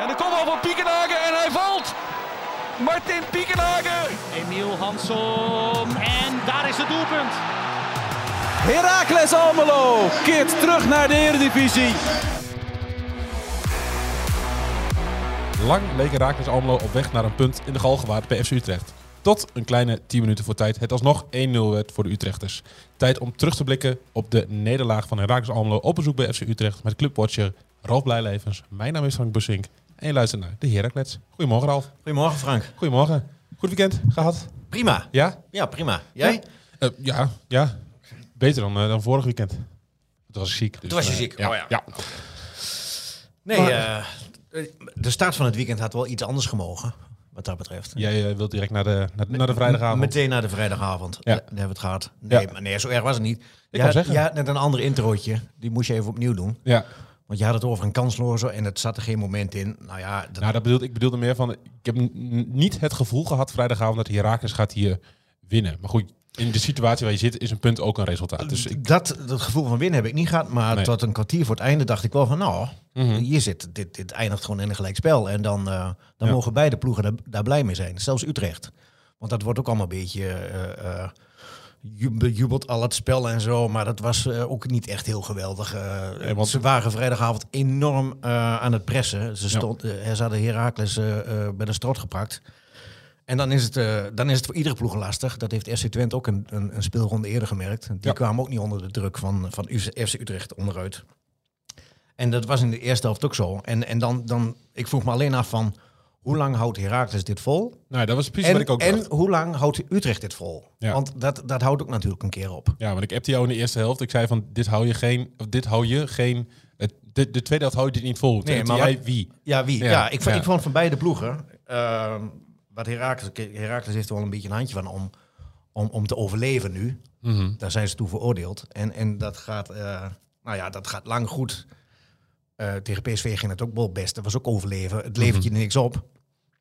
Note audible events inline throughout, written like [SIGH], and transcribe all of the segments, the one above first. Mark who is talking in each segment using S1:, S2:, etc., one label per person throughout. S1: En de kopbal van Piekenhagen en hij valt. Martin Piekenhagen.
S2: Emiel Hansom. En daar is het doelpunt.
S3: Heracles Almelo keert terug naar de Eredivisie.
S4: Lang leek Herakles Almelo op weg naar een punt in de Galgenwaard bij FC Utrecht. Tot een kleine 10 minuten voor tijd het alsnog 1-0 werd voor de Utrechters. Tijd om terug te blikken op de nederlaag van Herakles Almelo op bezoek bij FC Utrecht met clubwatcher Ralf Blijlevens. Mijn naam is Frank Bussink en je luistert naar de Heraklets. Goedemorgen Ralf.
S5: Goedemorgen Frank.
S4: Goedemorgen. Goed weekend gehad?
S5: Prima.
S4: Ja?
S5: Ja, prima. Jij?
S4: Eh, ja, ja. Beter dan, eh, dan vorig weekend. Toen was ik ziek. Dus,
S5: Toen was je
S4: eh,
S5: ziek.
S4: Ja.
S5: Oh ja.
S4: ja.
S5: Nee, eh, de start van het weekend had wel iets anders gemogen, wat dat betreft.
S4: Jij eh, wilt direct naar de, naar, naar de vrijdagavond.
S5: Meteen na de vrijdagavond.
S4: Ja.
S5: Daar hebben we het gehad. Nee,
S4: Ja.
S5: maar nee, zo erg was het niet. Je
S4: wou
S5: had,
S4: zeggen.
S5: je had net een ander introotje. Die moest je even opnieuw doen.
S4: Ja.
S5: Want je had het over een kansloze en het zat er geen moment in. Nou ja, dat,
S4: Nou, dat bedoel, ik bedoelde meer van, ik heb n- n- niet het gevoel gehad vrijdagavond dat Herakles gaat hier winnen. Maar goed, in de situatie waar je zit is een punt ook een resultaat. Dus ik,
S5: dat, dat gevoel van winnen heb ik niet gehad. Maar
S4: Nee. Mhm.
S5: tot een kwartier voor het einde dacht ik wel van... Nou, hier zit, dit, dit eindigt gewoon in een gelijkspel. En dan, eh, dan
S4: Ja.
S5: mogen beide ploegen daar, daar blij mee zijn. Zelfs Utrecht. Want dat wordt ook allemaal een beetje... eh, eh, ju- bejubeld al het spel en zo. Maar dat was eh, ook niet echt heel geweldig. eh.
S4: Nee, want-
S5: Ze waren vrijdagavond enorm eh, aan het pressen. Ze,
S4: Ja.
S5: stond, eh, ze hadden Herakles eh, eh, bij de strot gepakt. En dan is, het, eh, dan is het voor iedere ploeg lastig. Dat heeft FC Twente ook een, een, een speelronde eerder gemerkt. Die
S4: Ja.
S5: kwamen ook niet onder de druk van, van UZ FC Utrecht onderuit. En dat was in de eerste helft ook zo. En, en dan, dan, ik vroeg me alleen af van, hoe lang houdt Herakles dit vol?
S4: nou, dat was precies wat
S5: En,
S4: ik ook
S5: en
S4: dacht.
S5: hoe lang houdt Utrecht dit vol?
S4: Ja.
S5: Want dat, dat houdt ook natuurlijk een keer op.
S4: Ja, want ik appte jou in de eerste helft. Ik zei van, dit hou je geen, of dit hou je geen, het, de, de tweede helft hou je dit niet vol. Toen
S5: Nee,
S4: appte
S5: maar
S4: jij
S5: wat-
S4: wie?
S5: Ja, wie?
S4: Ja,
S5: Ja, ik, vond,
S4: ja.
S5: ik vond van beide ploegen. ehm, wat Herakles, Herakles heeft er wel een beetje een handje van om, om, om te overleven nu.
S4: Mhm.
S5: Daar zijn ze toe veroordeeld. En, en dat, gaat, eh, nou ja, dat gaat lang goed. Eh, tegen PSV ging het ook wel best. Dat was ook overleven. Het levert je niks op.
S4: Mhm.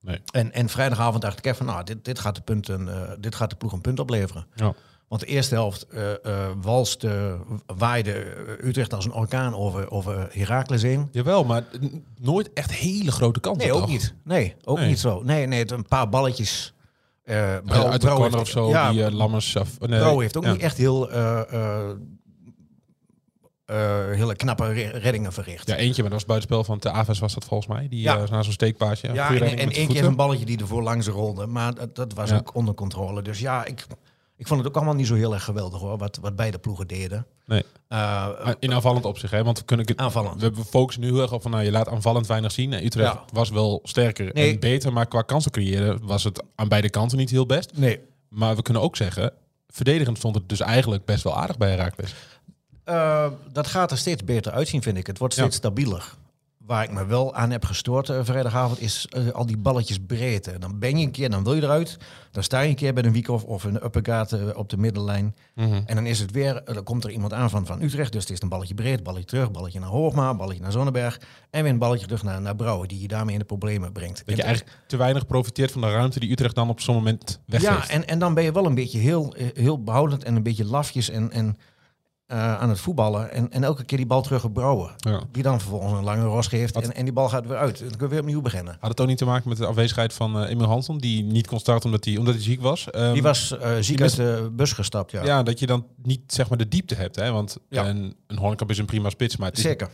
S4: Nee.
S5: En, en vrijdagavond dacht ik even, nou, dit, dit, gaat de punten, eh, dit gaat de ploeg een punt opleveren.
S4: Ja.
S5: Want de eerste helft eh eh, walste, waaide eh, Utrecht als een orkaan over, over Herakles heen.
S4: Jawel, maar n- nooit echt hele grote kansen.
S5: Nee, ook
S4: toch?
S5: niet. Nee, ook
S4: Nee.
S5: niet zo. Nee, nee, het, een paar balletjes. eh Brouw-
S4: Uit de
S5: Brouw
S4: corner of
S5: heeft-
S4: zo,
S5: Ja,
S4: die eh, Lammers. Of, nee,
S5: Brouw heeft ook
S4: ja.
S5: niet echt heel, eh, eh, eh, hele knappe re- reddingen verricht.
S4: Ja, eentje, maar dat was buitenspel van de Aves was dat volgens mij. Die
S5: Ja.
S4: eh, na zo'n steekpaasje.
S5: Ja,
S4: Goeie
S5: en,
S4: redding
S5: en
S4: met de
S5: één keer
S4: voeten.
S5: een balletje die ervoor langs rolde. Maar dat, dat was
S4: Ja.
S5: ook onder controle. Dus ja, ik, ik vond het ook allemaal niet zo heel erg geweldig hoor, wat, wat beide ploegen deden.
S4: Nee.
S5: Eh,
S4: Maar In aanvallend opzicht, hè? Want we kunnen
S5: Aanvallend.
S4: We focussen nu heel erg op van, nou, je laat aanvallend weinig zien. En Utrecht
S5: Ja.
S4: was wel sterker
S5: Nee.
S4: en beter, maar qua kansen creëren was het aan beide kanten niet heel best.
S5: nee.
S4: Maar we kunnen ook zeggen, verdedigend stond het dus eigenlijk best wel aardig bij Herakles.
S5: Eh, dat gaat er steeds beter uitzien, vind ik. Het wordt
S4: Ja.
S5: steeds stabieler. Waar ik me wel aan heb gestoord eh, vrijdagavond is eh, al die balletjes breedte. Dan ben je een keer, dan wil je eruit. Dan sta je een keer bij een week of een uppercut eh, op de middellijn.
S4: Mhm.
S5: En dan is het weer, eh, dan komt er iemand aan van, van Utrecht. Dus het is een balletje breed, balletje terug, balletje naar Hoogma, balletje naar Zonneberg. En weer een balletje terug naar, naar Brouwer, die je daarmee in de problemen brengt.
S4: Dat je
S5: En-
S4: eigenlijk te weinig profiteert van de ruimte die Utrecht dan op zo'n moment weggeeft.
S5: ja, en, en dan ben je wel een beetje heel, eh, heel behoudend en een beetje lafjes en, en, eh, aan het voetballen. En, en elke keer die bal terug op Brouwer.
S4: Ja.
S5: Die dan vervolgens een lange ros geeft en, en die bal gaat weer uit. Dan kunnen we weer opnieuw beginnen.
S4: Had het ook niet te maken met de afwezigheid van eh, Emil Hanson, die niet kon starten omdat hij, omdat hij ziek was. Ehm,
S5: Die was eh, ziek uit de bus gestapt, ja.
S4: Ja, dat je dan niet zeg maar de diepte hebt, hè? Want
S5: Ja.
S4: een, een Hornkamp is een prima spits, maar het is,
S5: Zeker.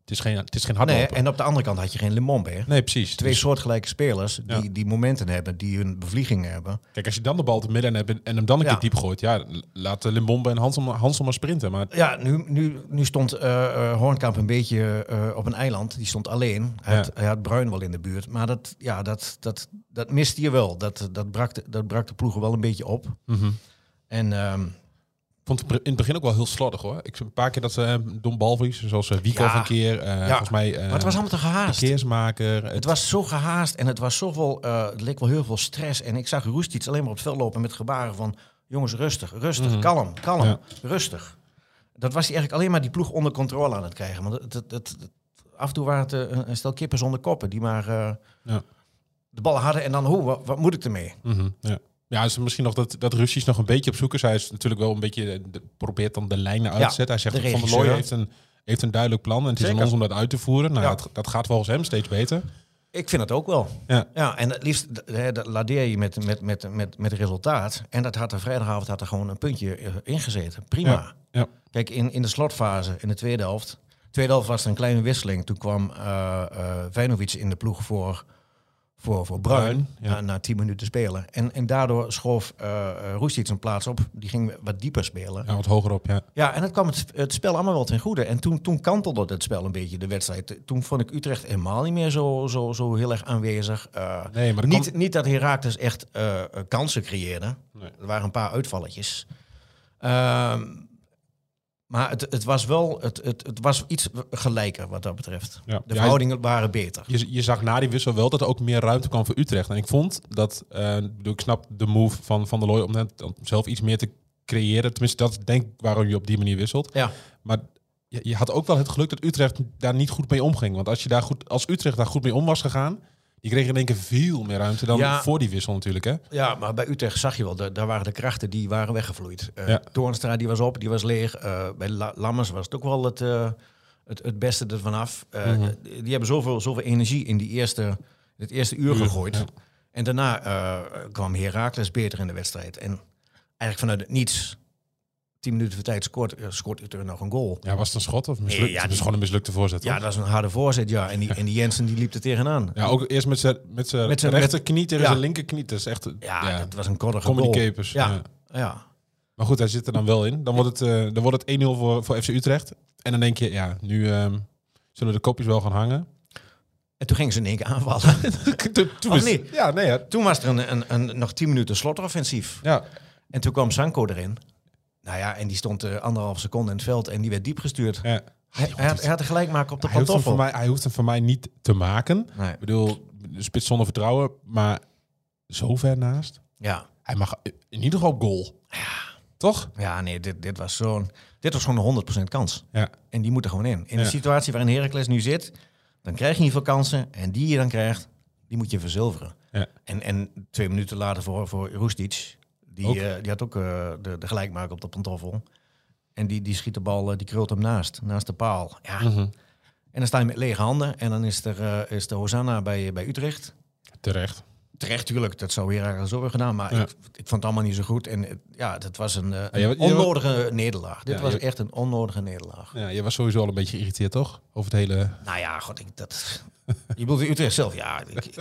S4: het is geen, het is geen
S5: Nee,
S4: hardloper. Nee,
S5: en op de andere kant had je geen Lemon bij.
S4: precies.
S5: Twee
S4: Dus-
S5: soortgelijke spelers die,
S4: Ja.
S5: die momenten hebben, die hun bevliegingen hebben.
S4: Kijk, als je dan de bal te midden hebt en- en hem dan een
S5: Ja.
S4: keer diep gooit, ja, laat eh, Limbombe en Hansom, Hansom maar sprinten. Maar
S5: Ja, nu, nu, nu stond eh, eh, Hoornkamp een beetje eh, op een eiland. Die stond alleen. Hij,
S4: Ja.
S5: had, hij had Bruin wel in de buurt. Maar dat, ja, dat, dat, dat miste je wel. Dat, dat, brak de, dat brak de ploegen wel een beetje op.
S4: Mhm.
S5: En ehm,
S4: ik vond het in het begin ook wel heel slordig hoor. Ik heb een paar keer dat ze eh, een dom balverlies, zoals eh, Wico
S5: Ja.
S4: van een keer, eh, volgens mij eh,
S5: maar het was allemaal te gehaast.
S4: verkeersmaker.
S5: Het was zo gehaast en het was zoveel, eh, het leek wel heel veel stress. En ik zag Roestic alleen maar op het veld lopen met gebaren van... jongens, rustig, rustig, kalm, kalm,
S4: Mhm. Ja.
S5: rustig. Dat was hij eigenlijk alleen maar die ploeg onder controle aan het krijgen. Want het, het, het- het- af en toe waren het eh, een- een stel kippen zonder koppen... die maar eh,
S4: Ja.
S5: de bal hadden en dan, hoe, wat, wat moet ik ermee?
S4: Mhm, ja. Ja, dus misschien nog dat, dat Russisch nog een beetje op zoek is. Hij is natuurlijk wel een beetje, eh, de- probeert dan de lijnen uit te
S5: Ja,
S4: zetten. Hij zegt
S5: de
S4: ook, Van der
S5: regisseur.
S4: Looy heeft een, heeft een duidelijk plan en het is aan
S5: Zeker.
S4: ons om dat uit te voeren. Nou,
S5: Ja.
S4: dat, dat gaat volgens hem steeds beter.
S5: Ik vind het ook wel.
S4: Ja.
S5: Ja, en het liefst d- hè, dat ladeer je met, met, met, met, met resultaat. En dat had er vrijdagavond had er gewoon een puntje eh, ingezeten. Prima.
S4: Ja. ja.
S5: Kijk, in, in de slotfase, in de tweede helft. Tweede helft was er een kleine wisseling. Toen kwam eh eh, Vejnovic in de ploeg voor, voor, voor Bruin. eh,
S4: Bruin, ja.
S5: na, na tien minuten spelen. En, en daardoor schoof eh eh, Roestic zijn plaats op. Die ging wat dieper spelen.
S4: Ja, wat hoger op, ja.
S5: Ja, en dat kwam het, het spel allemaal wel ten goede. En toen, toen kantelde het spel een beetje, de wedstrijd. Toen vond ik Utrecht helemaal niet meer zo, zo, zo heel erg aanwezig. Eh,
S4: Nee, maar dat
S5: niet,
S4: kwam-
S5: niet dat Herakles echt eh, kansen creëerde.
S4: Nee.
S5: Er waren een paar uitvalletjes. Ehm, maar het, het was wel het, het, het was iets gelijker wat dat betreft.
S4: Ja.
S5: De
S4: Ja,
S5: verhoudingen waren beter.
S4: Je, je zag na die wissel wel dat er ook meer ruimte kwam voor Utrecht. En ik vond dat, eh, ik bedoel, ik snap de move van Van der Looy om, net- om zelf iets meer te creëren. Tenminste, dat is denk ik waarom je op die manier wisselt.
S5: Ja.
S4: Maar je, je had ook wel het geluk dat Utrecht daar niet goed mee omging. Want als, je daar goed, als Utrecht daar goed mee om was gegaan, die kregen in één keer veel meer ruimte dan
S5: Ja.
S4: voor die wissel natuurlijk. Hè?
S5: Ja, maar bij Utrecht zag je wel, da- daar waren de krachten die waren weggevloeid. Eh
S4: Ja.
S5: Toornstra die was op, die was leeg. Eh, bij La- Lammers was het ook wel het, eh, het, het beste ervan af. Eh,
S4: Mhm.
S5: Die hebben zoveel, zoveel energie in die eerste, het eerste uur gegooid.
S4: ja.
S5: En daarna eh, kwam Heracles beter in de wedstrijd. En eigenlijk vanuit het niets, tien minuten voor tijd, scoort, eh, scoort Utrecht nog een goal.
S4: Ja, was het een schot of mislukt?
S5: Nee, ja,
S4: het is
S5: die-
S4: gewoon een mislukte voorzet.
S5: Ja,
S4: toch?
S5: dat was een harde voorzet, ja.
S4: [LAUGHS]
S5: En die, en die Jensen die liep er tegenaan.
S4: ja ook eerst met zijn met zijn
S5: Met zijn-
S4: rechterknie tegen
S5: ja.
S4: zijn linkerknie. Dat is echt...
S5: Ja,
S4: ja.
S5: dat was een koddige
S4: Comedy
S5: goal.
S4: capers,
S5: Ja, ja.
S4: Maar goed, hij zit er dan wel in. Dan wordt het, eh, dan wordt het 1-0 voor, voor FC Utrecht. En dan denk je, ja, nu ehm, zullen de kopjes wel gaan
S5: [LAUGHS]
S4: hangen.
S5: En toen gingen ze in één keer aanvallen.
S4: Toen- toen
S5: Of
S4: is-
S5: niet?
S4: Ja, nee. Ja.
S5: Toen was er een, een, een, nog tien minuten slotoffensief.
S4: Ja,
S5: En toen kwam Sanko erin. Nou ja, en die stond eh anderhalf seconde in het veld en die werd diep gestuurd.
S4: ja.
S5: Hij, hij had, hij had er gelijk maken op de
S4: Hij, hoeft hem voor
S5: pantoffel.
S4: mij, hij hoeft hem voor mij niet te maken.
S5: Nee.
S4: Ik bedoel, de spits zonder vertrouwen, maar zo ver naast.
S5: Ja,
S4: Hij mag in ieder geval op goal. Toch?
S5: ja nee, dit, dit was zo'n... Dit was gewoon een 100% kans.
S4: Ja.
S5: En die moet er gewoon in. In
S4: Ja.
S5: de situatie waarin Heracles nu zit, dan krijg je niet veel kansen. En die je dan krijgt, die moet je verzilveren.
S4: Ja.
S5: En, en twee minuten later voor, voor Roestic, die,
S4: Ook.
S5: eh, die had ook eh, de, de gelijkmaker op de pantoffel. En die, die schiet de bal, eh, die krult hem naast, naast de paal. Ja.
S4: Mhm.
S5: En dan sta je met lege handen en dan is er, eh, is de Hosanna bij, bij Utrecht.
S4: Terecht.
S5: Terecht, tuurlijk, dat zou Heracles ook weer gedaan, maar
S4: Ja.
S5: ik, ik vond het allemaal niet zo goed. En eh, ja, dat was een, eh,
S4: je hebt- je
S5: onnodige nederlaag. Dit
S4: Ja,
S5: was
S4: je-
S5: echt een onnodige nederlaag.
S4: Ja, je was sowieso al een beetje geïrriteerd, toch? Over het hele...
S5: Nou ja, god, ik, dat... Je bedoelt Utrecht zelf? Ja, ik, ik-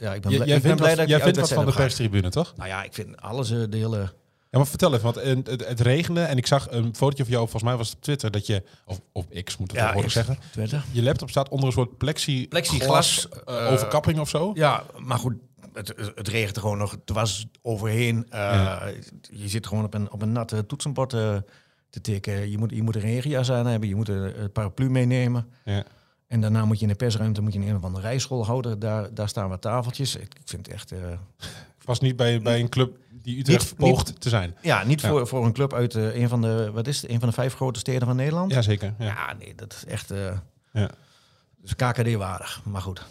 S5: ja, ik ben,
S4: J-
S5: blij-
S4: jij
S5: ik ben
S4: vindt
S5: blij
S4: wat,
S5: dat ik
S4: jij
S5: die
S4: vindt wat van de
S5: uitwedstrijd heb
S4: perstribune, toch?
S5: gehad. Nou ja, ik vind alles, eh, de hele...
S4: Ja, maar vertel even, want eh, het, het regende en ik zag een fotootje van jou, volgens mij was het op Twitter, dat je, of op X moet ik
S5: Ja,
S4: tegenwoordig
S5: X.
S4: zeggen,
S5: Twitter.
S4: je laptop staat onder een soort plexi
S5: Plexiglas, eh,
S4: overkapping of zo.
S5: Ja, maar goed, het, het regent gewoon nog. Het was overheen. Eh, Je zit gewoon op een, op een natte toetsenbord eh, te tikken. Je moet, je moet een regenjas aan hebben. Je moet een, een paraplu meenemen.
S4: Ja.
S5: En daarna moet je in de persruimte moet je in een of andere rijschool houden. Daar, daar staan wat tafeltjes. Ik vind het echt... eh,
S4: Ik was niet bij, bij een club die Utrecht
S5: Niet-
S4: poogt te zijn.
S5: ja, niet
S4: Ja.
S5: Voor, voor een club uit eh, een, van de, wat is het, een van de vijf grote steden van Nederland.
S4: Jazeker. Ja.
S5: Ja, nee, dat is echt eh,
S4: Ja.
S5: dus KKD-waardig. Maar goed,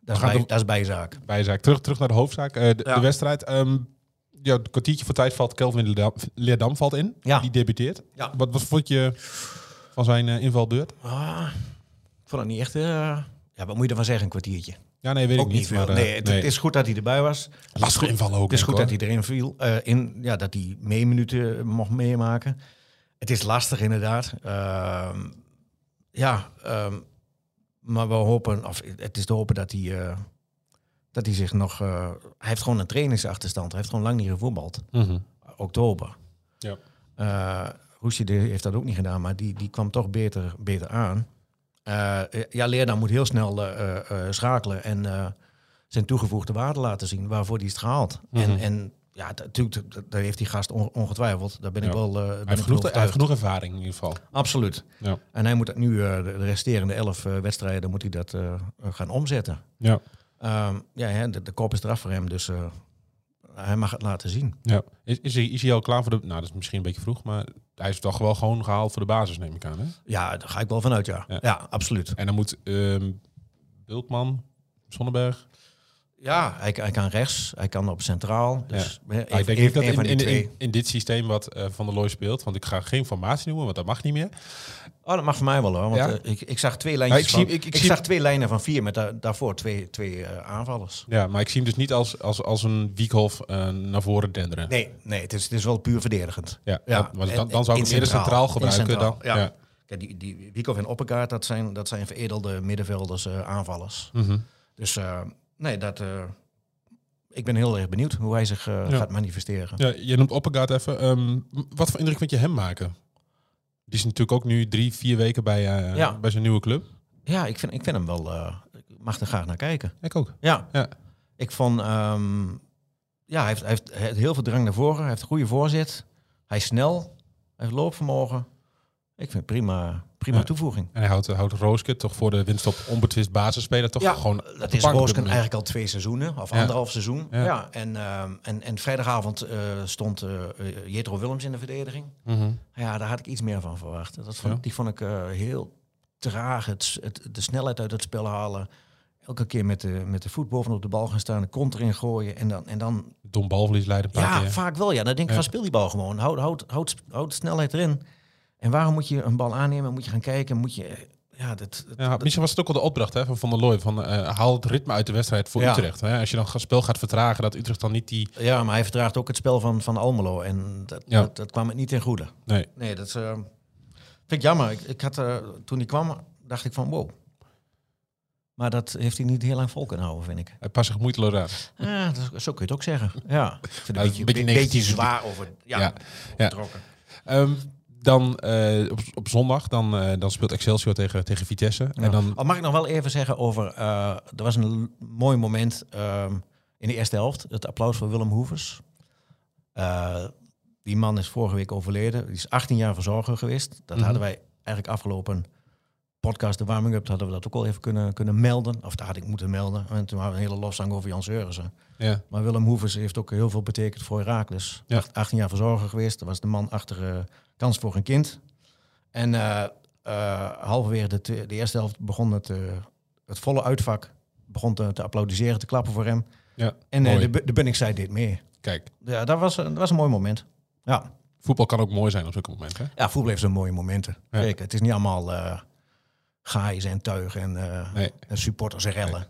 S5: dat is,
S4: gaan
S5: bij,
S4: door-
S5: dat is bijzaak.
S4: Bijzaak. Terug, terug naar de hoofdzaak, eh, de,
S5: Ja.
S4: de wedstrijd. Ehm, ja, een kwartiertje voor tijd valt Kelvin Leerdam, Leerdam valt in.
S5: Ja.
S4: Die debuteert.
S5: Ja.
S4: Wat, wat vond je van zijn eh, invalbeurt?
S5: Ah, ik vond het niet echt... eh, ja, wat moet je ervan zeggen, een kwartiertje?
S4: Ja, nee, weet
S5: Ook
S4: ik
S5: niet
S4: niet.
S5: veel.
S4: Maar, eh,
S5: nee, het, het is goed dat hij erbij was.
S4: lastig invallen ook.
S5: Het is
S4: denk
S5: goed
S4: ik,
S5: dat hij erin viel. eh, in, ja, dat hij meeminuten mocht meemaken. Het is lastig inderdaad. Ehm, ja, ehm, maar we hopen... Of, het is te hopen dat hij... eh, dat hij zich nog... eh, hij heeft gewoon een trainingsachterstand. Hij heeft gewoon lang niet gevoetbald.
S4: hoor. Mhm.
S5: Oktober.
S4: Ja.
S5: Eh, Roesje die heeft dat ook niet gedaan, maar die, die kwam toch beter, beter aan. Eh, ja, Leerdam moet heel snel eh, eh, eh, schakelen en eh, zijn toegevoegde waarde laten zien waarvoor hij is gehaald.
S4: Mhm.
S5: En, en ja, dat- natuurlijk, dat- daar heeft die gast on- ongetwijfeld. Daar ben ik
S4: Ja.
S5: wel. eh, ben
S4: Hij
S5: ik
S4: heeft, genoeg,
S5: wel
S4: hij heeft
S5: overtuigd.
S4: genoeg ervaring in ieder geval.
S5: Absoluut.
S4: Ja.
S5: En hij moet dat nu, eh, de de resterende elf eh, wedstrijden, moet hij dat eh, eh, gaan omzetten.
S4: Ja.
S5: Ehm, ja, hè, de, de kop is eraf voor hem, dus eh, hij mag het laten zien.
S4: Ja. Is, is, hij, is hij al klaar voor de... Nou, dat is misschien een beetje vroeg, maar hij is toch wel gewoon gehaald voor de basis, neem ik aan. Hè?
S5: Ja, daar ga ik wel vanuit, ja.
S4: Ja.
S5: Ja, absoluut.
S4: En dan moet ehm Bultman, Sonnenberg...
S5: Ja, hij, hij kan rechts, hij kan op centraal. Dus
S4: Ja.
S5: ja.
S4: Maar Nou, ik denk niet dat in, in, in, in dit systeem wat eh, Van der Looy speelt, want ik ga geen formatie noemen, want dat mag niet meer.
S5: Oh, dat mag voor mij wel hoor. Want
S4: Ja?
S5: eh, ik, ik zag twee lijntjes.
S4: ik zie-
S5: van-
S4: ik-
S5: ik,
S4: ik zie-
S5: zag twee lijnen van vier met da- daarvoor twee, twee eh, aanvallers.
S4: Ja, maar ik zie hem dus niet als, als, als een Wiekhof eh, naar voren denderen.
S5: Nee, nee het, is, het is wel puur verdedigend.
S4: Ja, dat- want dan- dan zou ik
S5: in
S4: hem eerder centraal gebruiken
S5: In centraal,
S4: dan-
S5: Ja.
S4: ja.
S5: Kijk, die, die Wiekoff en Oppegaard, dat zijn, dat zijn veredelde middenvelders, eh, aanvallers.
S4: Mhm.
S5: Dus eh, nee, dat, eh, ik ben heel erg benieuwd hoe hij zich eh,
S4: Ja.
S5: gaat manifesteren.
S4: Ja, je noemt Oppegaard even. Ehm, m- wat voor indruk vind je hem maken? Die is natuurlijk ook nu drie, vier weken bij, eh,
S5: Ja.
S4: bij zijn nieuwe club.
S5: Ja, ik vind, ik vind hem wel... eh, ik mag er graag naar kijken.
S4: Ik ook.
S5: Ja.
S4: Ja.
S5: Ik vond... ehm, ja, hij heeft, hij heeft- hij heeft heel veel drang naar voren. Hij heeft een goede voorzet. Hij is snel. Hij heeft loopvermogen. Ik vind het prima, prima
S4: Ja.
S5: toevoeging.
S4: En hij houdt, houdt Rooske toch voor de winst op onbetwist basisspeler toch
S5: Ja,
S4: gewoon op
S5: Dat
S4: de
S5: is
S4: Eh, bank op
S5: Roosken
S4: dit moment.
S5: eigenlijk al twee seizoenen. Of
S4: Ja.
S5: anderhalf seizoen.
S4: Ja.
S5: Ja. en, ehm, en, en vrijdagavond eh, stond eh eh, Jetro Willems in de verdediging.
S4: Mhm.
S5: Ja, daar had ik iets meer van verwacht. Dat vond,
S4: Ja.
S5: Die vond ik eh, heel traag. Het, s- het, de snelheid uit het spel halen. Elke keer met de, met de voet bovenop de bal gaan staan. De kont erin gooien. En dan, en dan
S4: Dom balverlies leiden een paar
S5: Ja,
S4: keer.
S5: vaak wel. Ja, dan denk ik
S4: Ja.
S5: van speel die bal gewoon. Houd, houd, houd, houd snelheid erin. En waarom moet je een bal aannemen? Moet je gaan kijken? Moet je... eh, Ja, dat, dat-
S4: Ja, misschien was het ook wel de opdracht hè, van Van der Looy. Van, eh, haal het ritme uit de wedstrijd voor
S5: Ja.
S4: Utrecht. Hè. Als je dan het spel gaat vertragen, dat Utrecht dan niet die...
S5: ja, maar hij verdraagt ook het spel van, van Almelo. En dat,
S4: Ja.
S5: dat, dat kwam het niet ten goede.
S4: Nee,
S5: Nee, dat is, eh, vind ik jammer. Ik, ik had, eh, toen hij kwam, dacht ik van wow. Maar dat heeft hij niet heel lang vol kunnen houden,
S4: [LAUGHS]
S5: vind ik.
S4: hij past zich moeiteloos aan.
S5: Ja, dat is- zo kun je het ook zeggen. Ja, ik vind het
S4: Ja,
S5: een beetje,
S4: beetje
S5: een
S4: negatief.
S5: beetje zwaar over. Ja,
S4: Ja, ja.
S5: overtrokken.
S4: Ehm, dan eh, op, op zondag dan, eh, dan speelt Excelsior tegen, tegen Vitesse. En dan,
S5: Al mag ik nog wel even zeggen over. eh, er was een l- mooi moment ehm, in de eerste helft. Het applaus voor Willem Hoevers. Eh, die man is vorige week overleden. Die is 18 jaar verzorger geweest. Dat
S4: Mhm.
S5: hadden wij eigenlijk afgelopen podcast, de warming-up, hadden we dat ook al even kunnen, kunnen melden. Of dat had ik moeten melden. En toen hadden we een hele lofzang over Jan Seurissen.
S4: ja,
S5: Maar Willem Hoevers heeft ook heel veel betekend voor Herakles.
S4: Ja.
S5: 18 jaar verzorger geweest. Dat was de man achter eh, Kans voor een Kind. En eh, eh, halverwege de, twe- de eerste helft begon het, eh, het volle uitvak. Begon te, te applaudisseren, te klappen voor hem.
S4: ja.
S5: En eh,
S4: Mooi.
S5: de, Bu- de Bunnik zei dit meer.
S4: Kijk,
S5: Ja, dat was, een- dat was een mooi moment. Ja,
S4: voetbal kan ook mooi zijn op zulke momenten. Hè?
S5: ja voetbal heeft zo'n mooie momenten.
S4: Ja.
S5: Zeker. Het is niet allemaal eh gaais en tuigen en, eh,
S4: Nee.
S5: en supporters en rellen.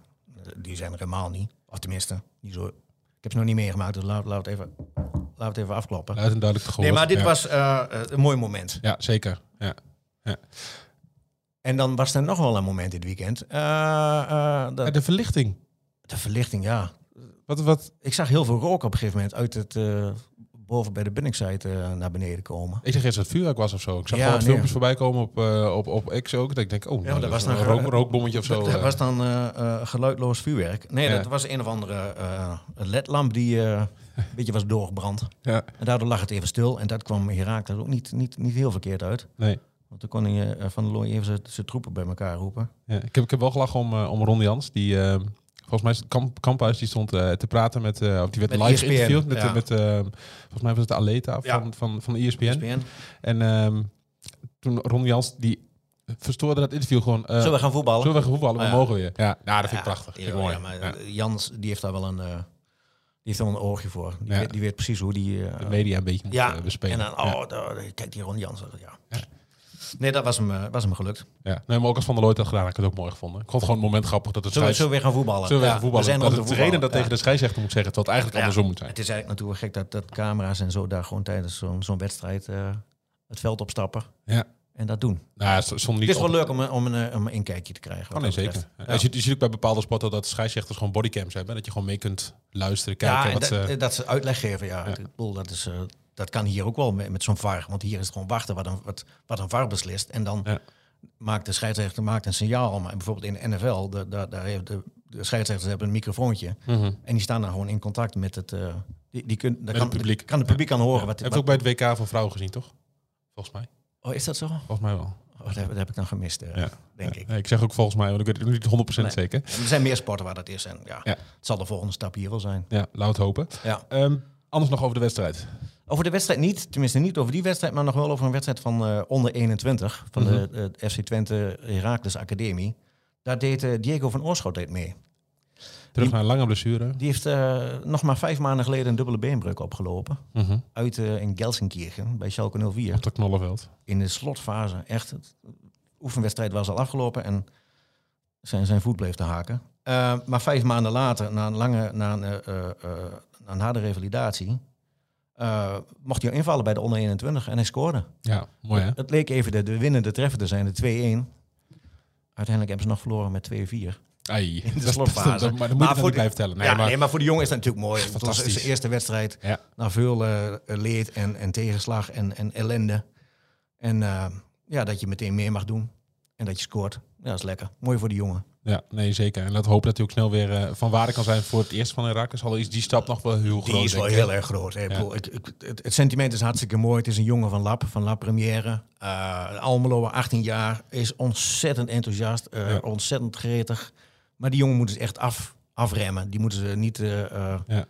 S5: Die zijn er helemaal niet. Of tenminste, niet zo. Ik heb ze nog niet meegemaakt, dus laat, laat, het, even, laat het even afkloppen.
S4: Luid en duidelijk te gehoord.
S5: nee, maar dit
S4: Ja.
S5: was eh, eh, een mooi moment.
S4: Ja, zeker. Ja.
S5: En dan was er nog wel een moment dit weekend. Eh, eh,
S4: Ja,
S5: dat,
S4: de verlichting.
S5: de verlichting, ja.
S4: Wat, wat,
S5: Ik zag heel veel rook op een gegeven moment uit het... eh, boven bij de binnenkzijde eh, naar beneden komen.
S4: ik zeg eerst dat het vuurwerk was of zo. Ik zag
S5: Ja,
S4: al wat
S5: nee.
S4: filmpjes voorbij komen op, eh, op, op X ook. Dat ik denk, oh, nou,
S5: dat
S4: dat was
S5: was
S4: een
S5: dan
S4: rook,
S5: ge-
S4: rookbommetje of zo.
S5: Dat
S4: eh.
S5: was dan eh, eh, geluidloos vuurwerk. Nee,
S4: Ja.
S5: dat was een of andere eh, ledlamp die eh,
S4: [LAUGHS]
S5: een beetje was doorgebrand.
S4: ja,
S5: En daardoor lag het even stil. En dat kwam Herakles ook niet, niet, niet heel verkeerd uit.
S4: nee.
S5: Want toen kon hij, eh, Van der Looy even zijn- zijn troepen bij elkaar roepen.
S4: Ja, ik, heb, ik heb wel gelachen om, eh, om Ron Jans. Die, eh, volgens mij is het kamp, Kamphuis die stond eh, te praten met... eh, of die werd
S5: Met E
S4: live
S5: ESPN,
S4: geïnterviewd met...
S5: ja.
S4: met eh, volgens mij was het de Aleta
S5: Ja. E
S4: van, van, E van ESPN.
S5: SPN.
S4: En ehm, toen Ron Jans, die verstoorde dat interview gewoon... eh,
S5: Zullen we gaan voetballen?
S4: Zullen we gaan voetballen?
S5: Ah,
S4: We
S5: ja.
S4: mogen weer. Ja, nou, dat vind ik
S5: Ja,
S4: prachtig. Vind ik
S5: ja,
S4: mooi.
S5: ja, maar
S4: Ja.
S5: Jans die heeft daar wel een, eh, die heeft wel een oogje voor. Die,
S4: Ja.
S5: weet, die weet precies hoe die... eh,
S4: De media een beetje moet
S5: ja,
S4: eh, bespelen.
S5: en dan,
S4: Ja.
S5: oh, daar- kijk die Ron Jans. Ja. Nee, dat was hem, eh, was hem gelukt.
S4: Ja, nee, maar ook als Van der Looy dat gedaan, had ik het ook mooi gevonden. Ik vond het gewoon het moment grappig dat het
S5: Zullen we,
S4: scheids...
S5: zullen we weer gaan voetballen?
S4: zullen we
S5: Ja,
S4: gaan voetballen?
S5: we zijn er
S4: dat
S5: om
S4: het
S5: te
S4: de reden dat tegen de
S5: voetballen.
S4: scheidsrechter moet zeggen, terwijl het eigenlijk
S5: Ja.
S4: andersom moet zijn.
S5: Het is eigenlijk natuurlijk gek dat, dat camera's en zo daar gewoon tijdens zo'n zo'n wedstrijd eh, het veld opstappen
S4: Ja.
S5: en dat doen.
S4: Nou, het stond niet
S5: Het is wel
S4: op-
S5: leuk om, een- om, een, eh, om een inkijkje te krijgen.
S4: Oh,
S5: wat
S4: nee,
S5: dat
S4: zeker.
S5: betreft.
S4: Ja. Je, ziet- je ziet ook bij bepaalde sporten dat scheidsrechters gewoon bodycams hebben. Dat je gewoon mee kunt luisteren,
S5: Ja,
S4: kijken.
S5: en
S4: wat
S5: dat,
S4: ze-
S5: eh, dat ze uitleg geven. Ja. Ik bedoel, dat, is, eh, dat kan hier ook wel met, met zo'n VAR. Want hier is het gewoon wachten wat een, wat, wat een VAR beslist. En dan
S4: Ja.
S5: maakt de scheidsrechter maakt een signaal. Maar bijvoorbeeld in de NFL, de, daar- daar heeft de, de scheidsrechters hebben een microfoontje. En die staan dan gewoon in contact met het... eh, die, die kun, daar
S4: Mhm. het
S5: kan,
S4: publiek.
S5: Kan het publiek aan horen.
S4: Heb
S5: Wat,
S4: je
S5: wat-
S4: ook bij het WK van vrouwen gezien, toch? Volgens mij.
S5: oh, is dat zo? Oh,
S4: Volgens mij wel.
S5: dat, heb, dat heb ik dan gemist, eh,
S4: Ja.
S5: denk
S4: Ja.
S5: ik.
S4: Nee, ik zeg ook volgens mij, want ik weet het nog niet 100%
S5: Nee.
S4: zeker.
S5: Er zijn meer sporten waar dat is. En ja,
S4: Ja.
S5: het zal de volgende stap hier wel zijn.
S4: Ja, laat hopen.
S5: Ja.
S4: Ehm, anders nog over de wedstrijd.
S5: Over de wedstrijd niet, tenminste niet over die wedstrijd, maar nog wel over een wedstrijd van eh, onder 21 van de eh, FC Twente Heracles Academie. Daar deed eh, Diego van Oorschot deed mee.
S4: Terug naar een lange blessure.
S5: Die heeft eh, nog maar vijf maanden geleden een dubbele beenbreuk opgelopen.
S4: Mhm.
S5: Uit eh, in Gelsenkirchen bij Schalke 04.
S4: Op dat knollenveld.
S5: In de slotfase, echt. het- De oefenwedstrijd was al afgelopen en zijn, zijn voet bleef te haken. Eh, maar vijf maanden later, na een, lange, na een, eh, eh, eh, na een harde revalidatie, eh, mocht hij invallen bij de onder 21 en hij scoorde.
S4: Ja, mooi hè?
S5: Het leek even de, de winnende treffer te zijn, de 2-1. Uiteindelijk hebben ze nog verloren met 2-4.
S4: Ai,
S5: in de
S4: [LAUGHS] dat-
S5: slotfase.
S4: dat- dat- maar dat moet je
S5: Maar
S4: dan
S5: voor
S4: niet
S5: de-
S4: blijven vertellen. Nee,
S5: ja,
S4: maar,
S5: nee, maar voor de jongen is dat natuurlijk mooi. Het was
S4: Fantastisch.
S5: zijn eerste wedstrijd.
S4: Ja.
S5: Na veel eh, leed en, en tegenslag en, en ellende. En eh, ja, dat je meteen meer mag doen. En dat je scoort. Ja, dat is lekker. Mooi voor de jongen.
S4: ja, nee, zeker. En laten we hopen dat hij ook snel weer eh, van waarde kan zijn voor het eerst van Herakles. Al is die stap nog wel heel groot.
S5: Die is wel
S4: denk ik.
S5: heel erg groot. hè. Ik bedoel, het, het, het- het sentiment is hartstikke mooi. Het is een jongen van Lab, van Lab Première. Eh Almelo, 18 jaar, is ontzettend enthousiast, eh,
S4: Ja.
S5: ontzettend gretig. Maar die jongen moeten ze echt af, afremmen. Die moeten ze niet... eh, eh,
S4: Ja.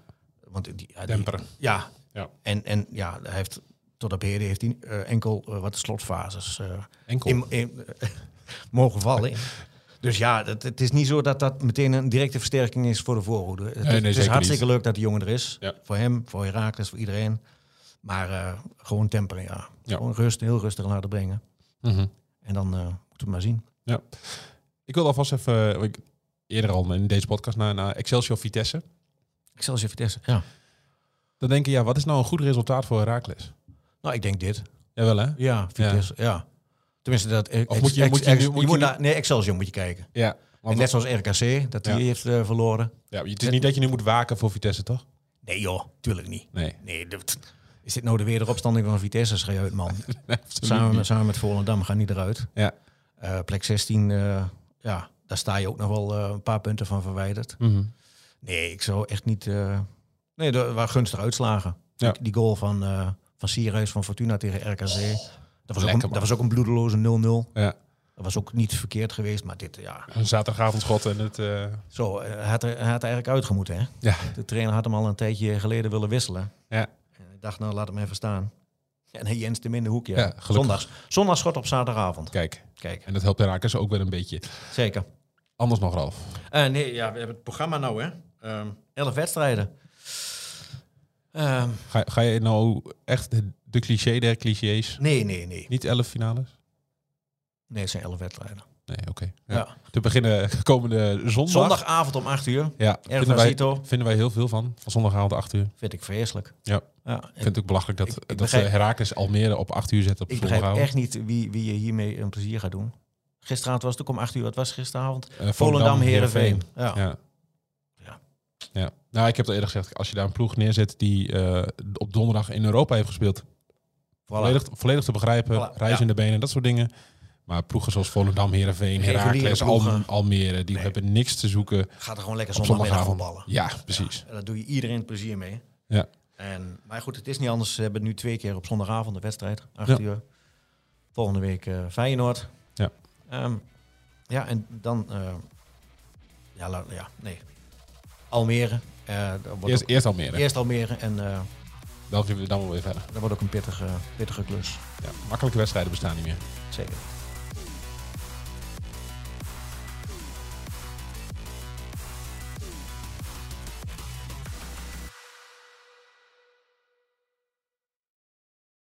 S5: want die, ja, die-
S4: Temperen.
S5: Ja.
S4: Ja.
S5: En, en ja, hij heeft, tot op heden heeft hij eh, enkel eh, wat slotfases eh,
S4: Enkel.
S5: in, in, [LAUGHS] mogen vallen. Dus ja, het, het is niet zo dat dat meteen een directe versterking is voor de voorhoede. Het,
S4: nee,
S5: het is
S4: zeker
S5: hartstikke leuk dat de jongen er is.
S4: Ja.
S5: Voor hem, voor Herakles, voor iedereen. Maar eh, gewoon temperen, ja.
S4: Ja.
S5: Gewoon rust, heel rustig laten brengen.
S4: Mhm.
S5: En dan eh moeten we het maar zien.
S4: Ja. Ik wil alvast even, eh, ik- eerder al in deze podcast, naar, naar Excelsior Vitesse.
S5: Ik zal eens even testen. Ja.
S4: Dan denk je, ja, wat is nou een goed resultaat voor Herakles?
S5: Nou, ik denk dit.
S4: Jawel hè?
S5: Ja, Vitesse, ja. Tenminste, dat... eh,
S4: Of
S5: ex-
S4: moet je-
S5: ex-
S4: moet je
S5: ex-
S4: nu- moet je nu-
S5: naar- Nee, Excelsior moet je kijken.
S4: Ja.
S5: En
S4: Want,
S5: net zoals RKC, dat die
S4: Ja.
S5: heeft eh, verloren.
S4: ja. Het is niet dat je nu moet waken voor Vitesse, toch?
S5: Nee joh, tuurlijk niet.
S4: Nee.
S5: Nee, dat- is dit nou de wederopstanding van Vitesse? Schreeuw uit, man.
S4: [LAUGHS] Absoluut
S5: samen,
S4: niet.
S5: met, samen met Volendam gaan die eruit.
S4: Ja.
S5: Eh, plek 16, eh, ja, daar sta je ook nog wel eh, een paar punten van verwijderd.
S4: Mhm.
S5: Nee, ik zou echt niet... eh, nee, dat waren gunstig uitslagen.
S4: Ja.
S5: Die, die goal van, eh van Sirius van Fortuna tegen RKC. Dat was, ook
S4: Lekker,
S5: een,
S4: man.
S5: dat was ook een bloedeloze 0-0.
S4: Ja.
S5: Dat was ook niet verkeerd geweest, maar dit, ja.
S4: Een zaterdagavondschot en het... eh,
S5: Zo, eh, hij had, er- hij had er eigenlijk uitgemoet, hè?
S4: Ja.
S5: De trainer had hem al een tijdje geleden willen wisselen.
S4: Ja.
S5: En ik dacht, nou, laat hem even staan. En hij Jens de in de hoek, ja.
S4: Ja, gelukkig.
S5: Zondags. Zondagsschot op zaterdagavond.
S4: Kijk,
S5: Kijk,
S4: en dat helpt Herakles ook weer een beetje.
S5: zeker.
S4: Anders nog, Ralf.
S5: Eh, nee, ja, we hebben het programma nou, hè. Ehm elf wedstrijden. Ehm,
S4: Ga, ga je nou echt de cliché der clichés?
S5: nee, nee, nee.
S4: Niet elf finales?
S5: Nee, het zijn elf wedstrijden.
S4: Nee, oké.
S5: Ja.
S4: Ja. Te beginnen komende zondag.
S5: Zondagavond om 8 uur.
S4: Ja,
S5: Erg
S4: vinden wij,
S5: Zito.
S4: vinden wij heel veel van. Van zondagavond 8 uur.
S5: Vind ik vreselijk.
S4: Ja.
S5: ja
S4: Ik vind het ook belachelijk dat,
S5: Ik- ik
S4: dat
S5: begrijp-
S4: ze Herakles Almere op 8 uur zetten op
S5: Ik begrijp
S4: zondagavond.
S5: echt niet wie, wie je hiermee een plezier gaat doen. Gisteravond was het ook om 8 uur. Wat was gisteravond?
S4: Eh,
S5: Volendam, Herenveen.
S4: Heerenveen.
S5: Ja.
S4: Ja.
S5: Ja.
S4: Ja. Nou, ik heb het al eerder gezegd. Als je daar een ploeg neerzet die eh, op donderdag in Europa heeft gespeeld. Volledig, volledig te begrijpen.
S5: Voilà,
S4: Reis
S5: ja.
S4: in de benen, dat soort dingen. Maar ploegen zoals Volendam, Heerenveen,
S5: Reguliere
S4: Herakles, Al
S5: ploegen.
S4: Almere. Die
S5: Nee.
S4: hebben niks te zoeken op
S5: Gaat er gewoon lekker zondagmiddag
S4: zondagavond.
S5: voetballen.
S4: Ja, precies.
S5: En daar doe je iedereen plezier mee.
S4: Ja.
S5: En, maar goed, het is niet anders. Ze hebben nu twee keer op zondagavond een wedstrijd. Acht
S4: Ja.
S5: uur. Volgende week eh, Feyenoord.
S4: Ja.
S5: Ehm, ja, en dan... eh, ja, la- ja, nee. Almere. Eh, dat wordt
S4: Eerst,
S5: ook-
S4: eerst Almere.
S5: eerst Almere. En eh,
S4: Dan zien we dan wel weer verder.
S5: dat wordt ook een pittige, pittige klus.
S4: Ja, makkelijke wedstrijden bestaan niet meer.
S5: Zeker.